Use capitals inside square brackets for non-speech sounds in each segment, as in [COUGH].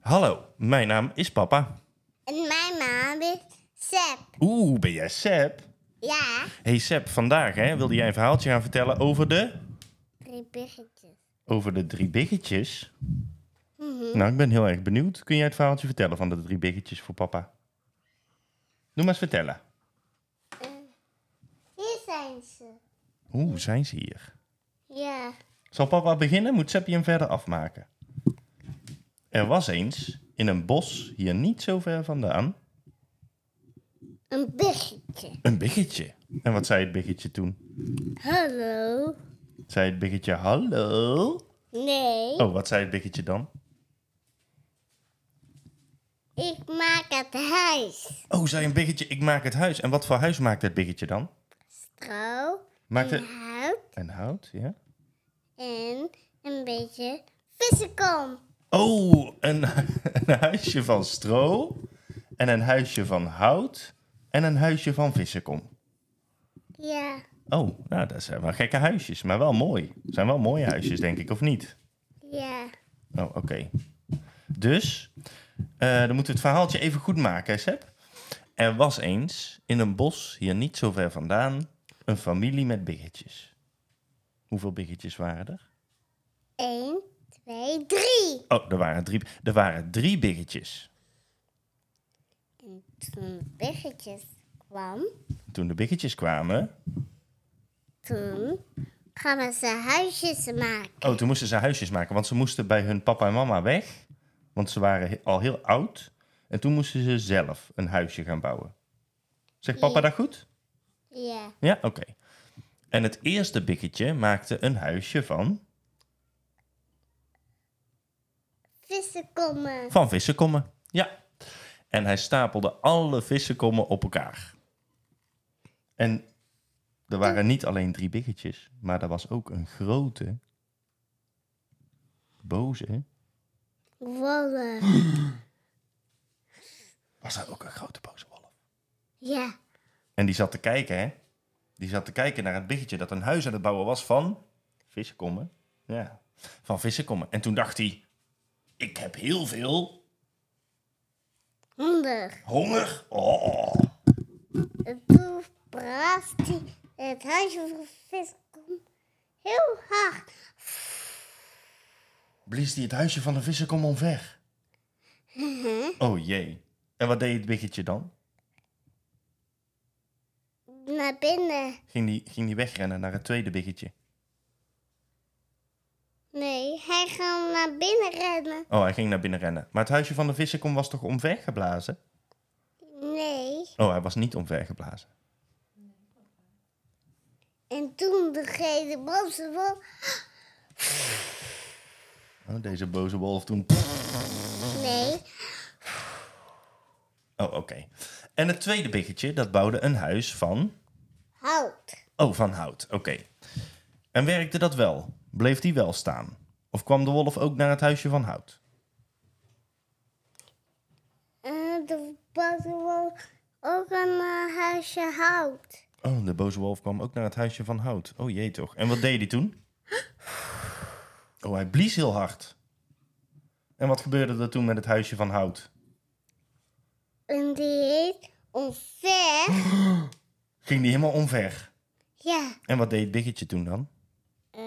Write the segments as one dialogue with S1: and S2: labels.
S1: Hallo, mijn naam is papa.
S2: En mijn naam is Seb.
S1: Oeh, ben jij Seb?
S2: Ja,
S1: Hey Seb, vandaag hè, wilde jij een verhaaltje gaan vertellen over de...
S2: drie biggetjes.
S1: Over de drie biggetjes? Nou, ik ben heel erg benieuwd. Kun jij het verhaaltje vertellen van de drie biggetjes voor papa? Doe maar eens vertellen.
S2: Hier zijn ze.
S1: Oeh, zijn ze hier?
S2: Ja.
S1: Zal papa beginnen? Moet Seppie hem verder afmaken? Er was eens in een bos hier niet zo ver vandaan
S2: Een biggetje.
S1: een biggetje. En wat zei het biggetje toen?
S2: Hallo?
S1: Zei het biggetje hallo?
S2: Nee,
S1: Oh, wat zei het biggetje dan?
S2: ik maak het huis.
S1: Oh, zei een biggetje, ik maak het huis. En wat voor huis maakt het biggetje dan?
S2: Stro,
S1: Maakt het
S2: hout
S1: een hout, ja?
S2: en een beetje vissenkom.
S1: Oh, een, [LAUGHS] een huisje van stro. En een huisje van hout. En een huisje van vissenkom.
S2: Ja,
S1: Oh, nou, dat zijn wel gekke huisjes, maar wel mooi. Zijn wel mooie huisjes, denk ik, of niet?
S2: ja.
S1: Oh, oké. Dus, eh, dan moeten we het verhaaltje even goed maken, hè, Seb. Er was eens, in een bos hier niet zo ver vandaan, een familie met biggetjes. Hoeveel biggetjes waren er?
S2: Eén, twee, drie.
S1: Oh, er waren drie, er waren drie biggetjes.
S2: En toen biggetjes kwam,
S1: Toen de biggetjes kwamen...
S2: toen kwamen ze huisjes maken.
S1: Oh, toen moesten ze huisjes maken, want ze moesten bij hun papa en mama weg. Want ze waren he- al heel oud. En toen moesten ze zelf een huisje gaan bouwen. Zegt papa
S2: Ja.
S1: dat goed?
S2: Ja,
S1: Ja, oké. En het eerste biggetje maakte een huisje van,
S2: vissenkommen.
S1: van vissenkommen. Ja. En hij stapelde alle vissenkommen op elkaar. En er waren niet alleen drie biggetjes, maar er was ook een grote, boze.
S2: Wollen.
S1: Was er ook een grote boze wolf?
S2: Ja,
S1: En die zat te kijken, hè? Die zat te kijken naar het biggetje dat een huis aan het bouwen was van vissenkommen. Ja, van vissenkommen. En toen dacht hij, ik heb heel veel
S2: honderd.
S1: honger. Oh.
S2: En toen braast hij het huisje van vissenkom heel hard.
S1: Blies hij het huisje van de vissenkom omver. Oh jee. En wat deed het biggetje dan?
S2: Naar binnen.
S1: Ging die, ging die wegrennen naar het tweede biggetje.
S2: Nee, hij gaat naar binnen rennen.
S1: Oh, hij ging naar binnen rennen. Maar het huisje van de vissenkom was toch omvergeblazen?
S2: Nee.
S1: Oh, hij was niet omvergeblazen.
S2: En toen de gele boze wolf.
S1: Oh, deze boze wolf toen...
S2: Nee,
S1: Oh, oké. En het tweede biggetje, dat bouwde een huis van...
S2: hout.
S1: Oh, van hout. Oké. En werkte dat wel? Bleef die wel staan? Of kwam de wolf ook naar het huisje van hout?
S2: En de boze wolf ook een eh, huisje hout.
S1: Oh, de boze wolf kwam ook naar het huisje van hout. Oh jee toch. En wat deed hij toen? Oh, hij blies heel hard. En wat gebeurde er toen met het huisje van hout?
S2: En die heet onver.
S1: Ging die helemaal omver.
S2: Ja,
S1: En wat deed het biggetje toen dan?
S2: eh,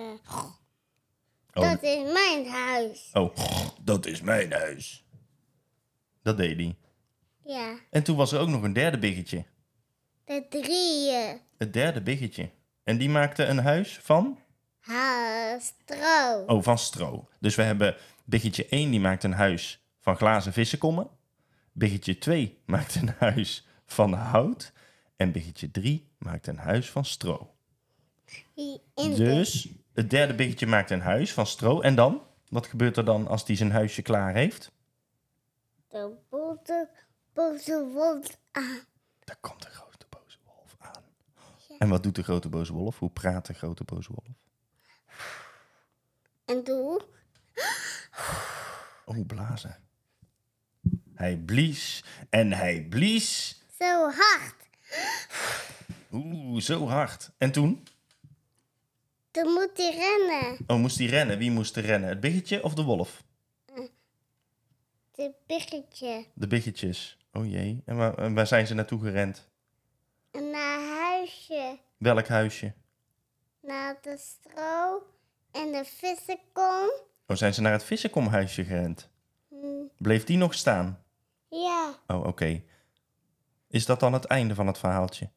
S1: Oh,
S2: dat is mijn huis.
S1: oh, dat is mijn huis. Dat deed hij.
S2: Ja,
S1: En toen was er ook nog een derde biggetje.
S2: de drieën.
S1: Het derde biggetje. En die maakte een huis van?
S2: Ha, stro.
S1: Oh, van stro. Dus we hebben biggetje 1 die maakt een huis van glazen vissenkommen. Biggetje 2 maakt een huis van hout. En biggetje 3 maakt een huis van stro.
S2: Die in de-
S1: Dus het derde biggetje maakt een huis van stro. En dan? Wat gebeurt er dan als die zijn huisje klaar heeft?
S2: de boze, boze wolf aan.
S1: Daar komt de grote boze wolf aan. En wat doet de grote boze wolf? Hoe praat de grote boze wolf?
S2: En toen,
S1: Oh, blazen. Hij blies en hij blies.
S2: zo hard.
S1: Oeh, zo hard. En toen?
S2: Toen moet hij rennen.
S1: Oh, moest hij rennen? Wie moest er rennen? Het biggetje of de wolf?
S2: de biggetje.
S1: De biggetjes. Oh jee. En waar, en waar zijn ze naartoe gerend?
S2: Naar huisje.
S1: Welk huisje?
S2: Naar de stro. En de vissenkom.
S1: Oh, zijn ze naar het vissenkomhuisje gerend?
S2: Hm,
S1: Bleef die nog staan?
S2: Ja.
S1: Oh, oké. Is dat dan het einde van het verhaaltje?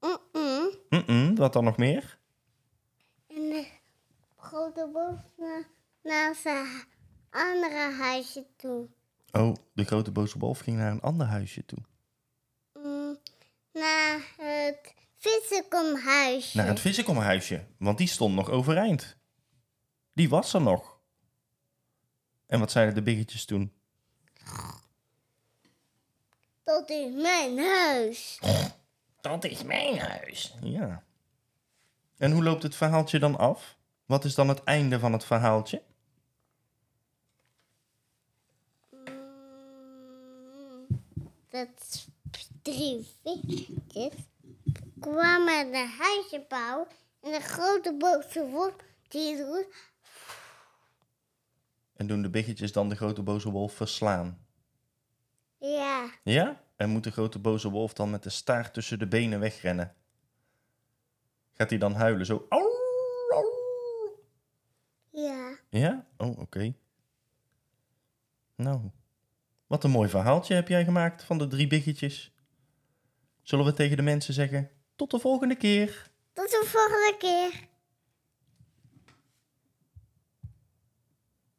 S2: Mm-mm.
S1: Mm-mm, wat dan nog meer?
S2: En de grote boef na- naar zijn andere huisje toe.
S1: Oh, de grote boze wolf ging naar een ander huisje toe.
S2: Mm, Naar het vissenkomhuisje.
S1: Naar het vissenkomhuisje, want die stond nog overeind. Die was er nog. En wat zeiden de biggetjes toen?
S2: Dat is mijn huis.
S1: Dat is mijn huis. Ja. En hoe loopt het verhaaltje dan af? Wat is dan het einde van het verhaaltje?
S2: Mm, Dat drie visjes kwamen naar huisje bouwen. En de grote boze wolf die doet...
S1: En doen de biggetjes dan de grote boze wolf verslaan?
S2: Ja,
S1: Ja? En moet de grote boze wolf dan met de staart tussen de benen wegrennen? Gaat hij dan huilen zo? "Au, au."
S2: ja.
S1: Ja? Oh, oké. Nou, wat een mooi verhaaltje heb jij gemaakt van de drie biggetjes. Zullen we tegen de mensen zeggen: tot de volgende keer?
S2: Tot de volgende keer.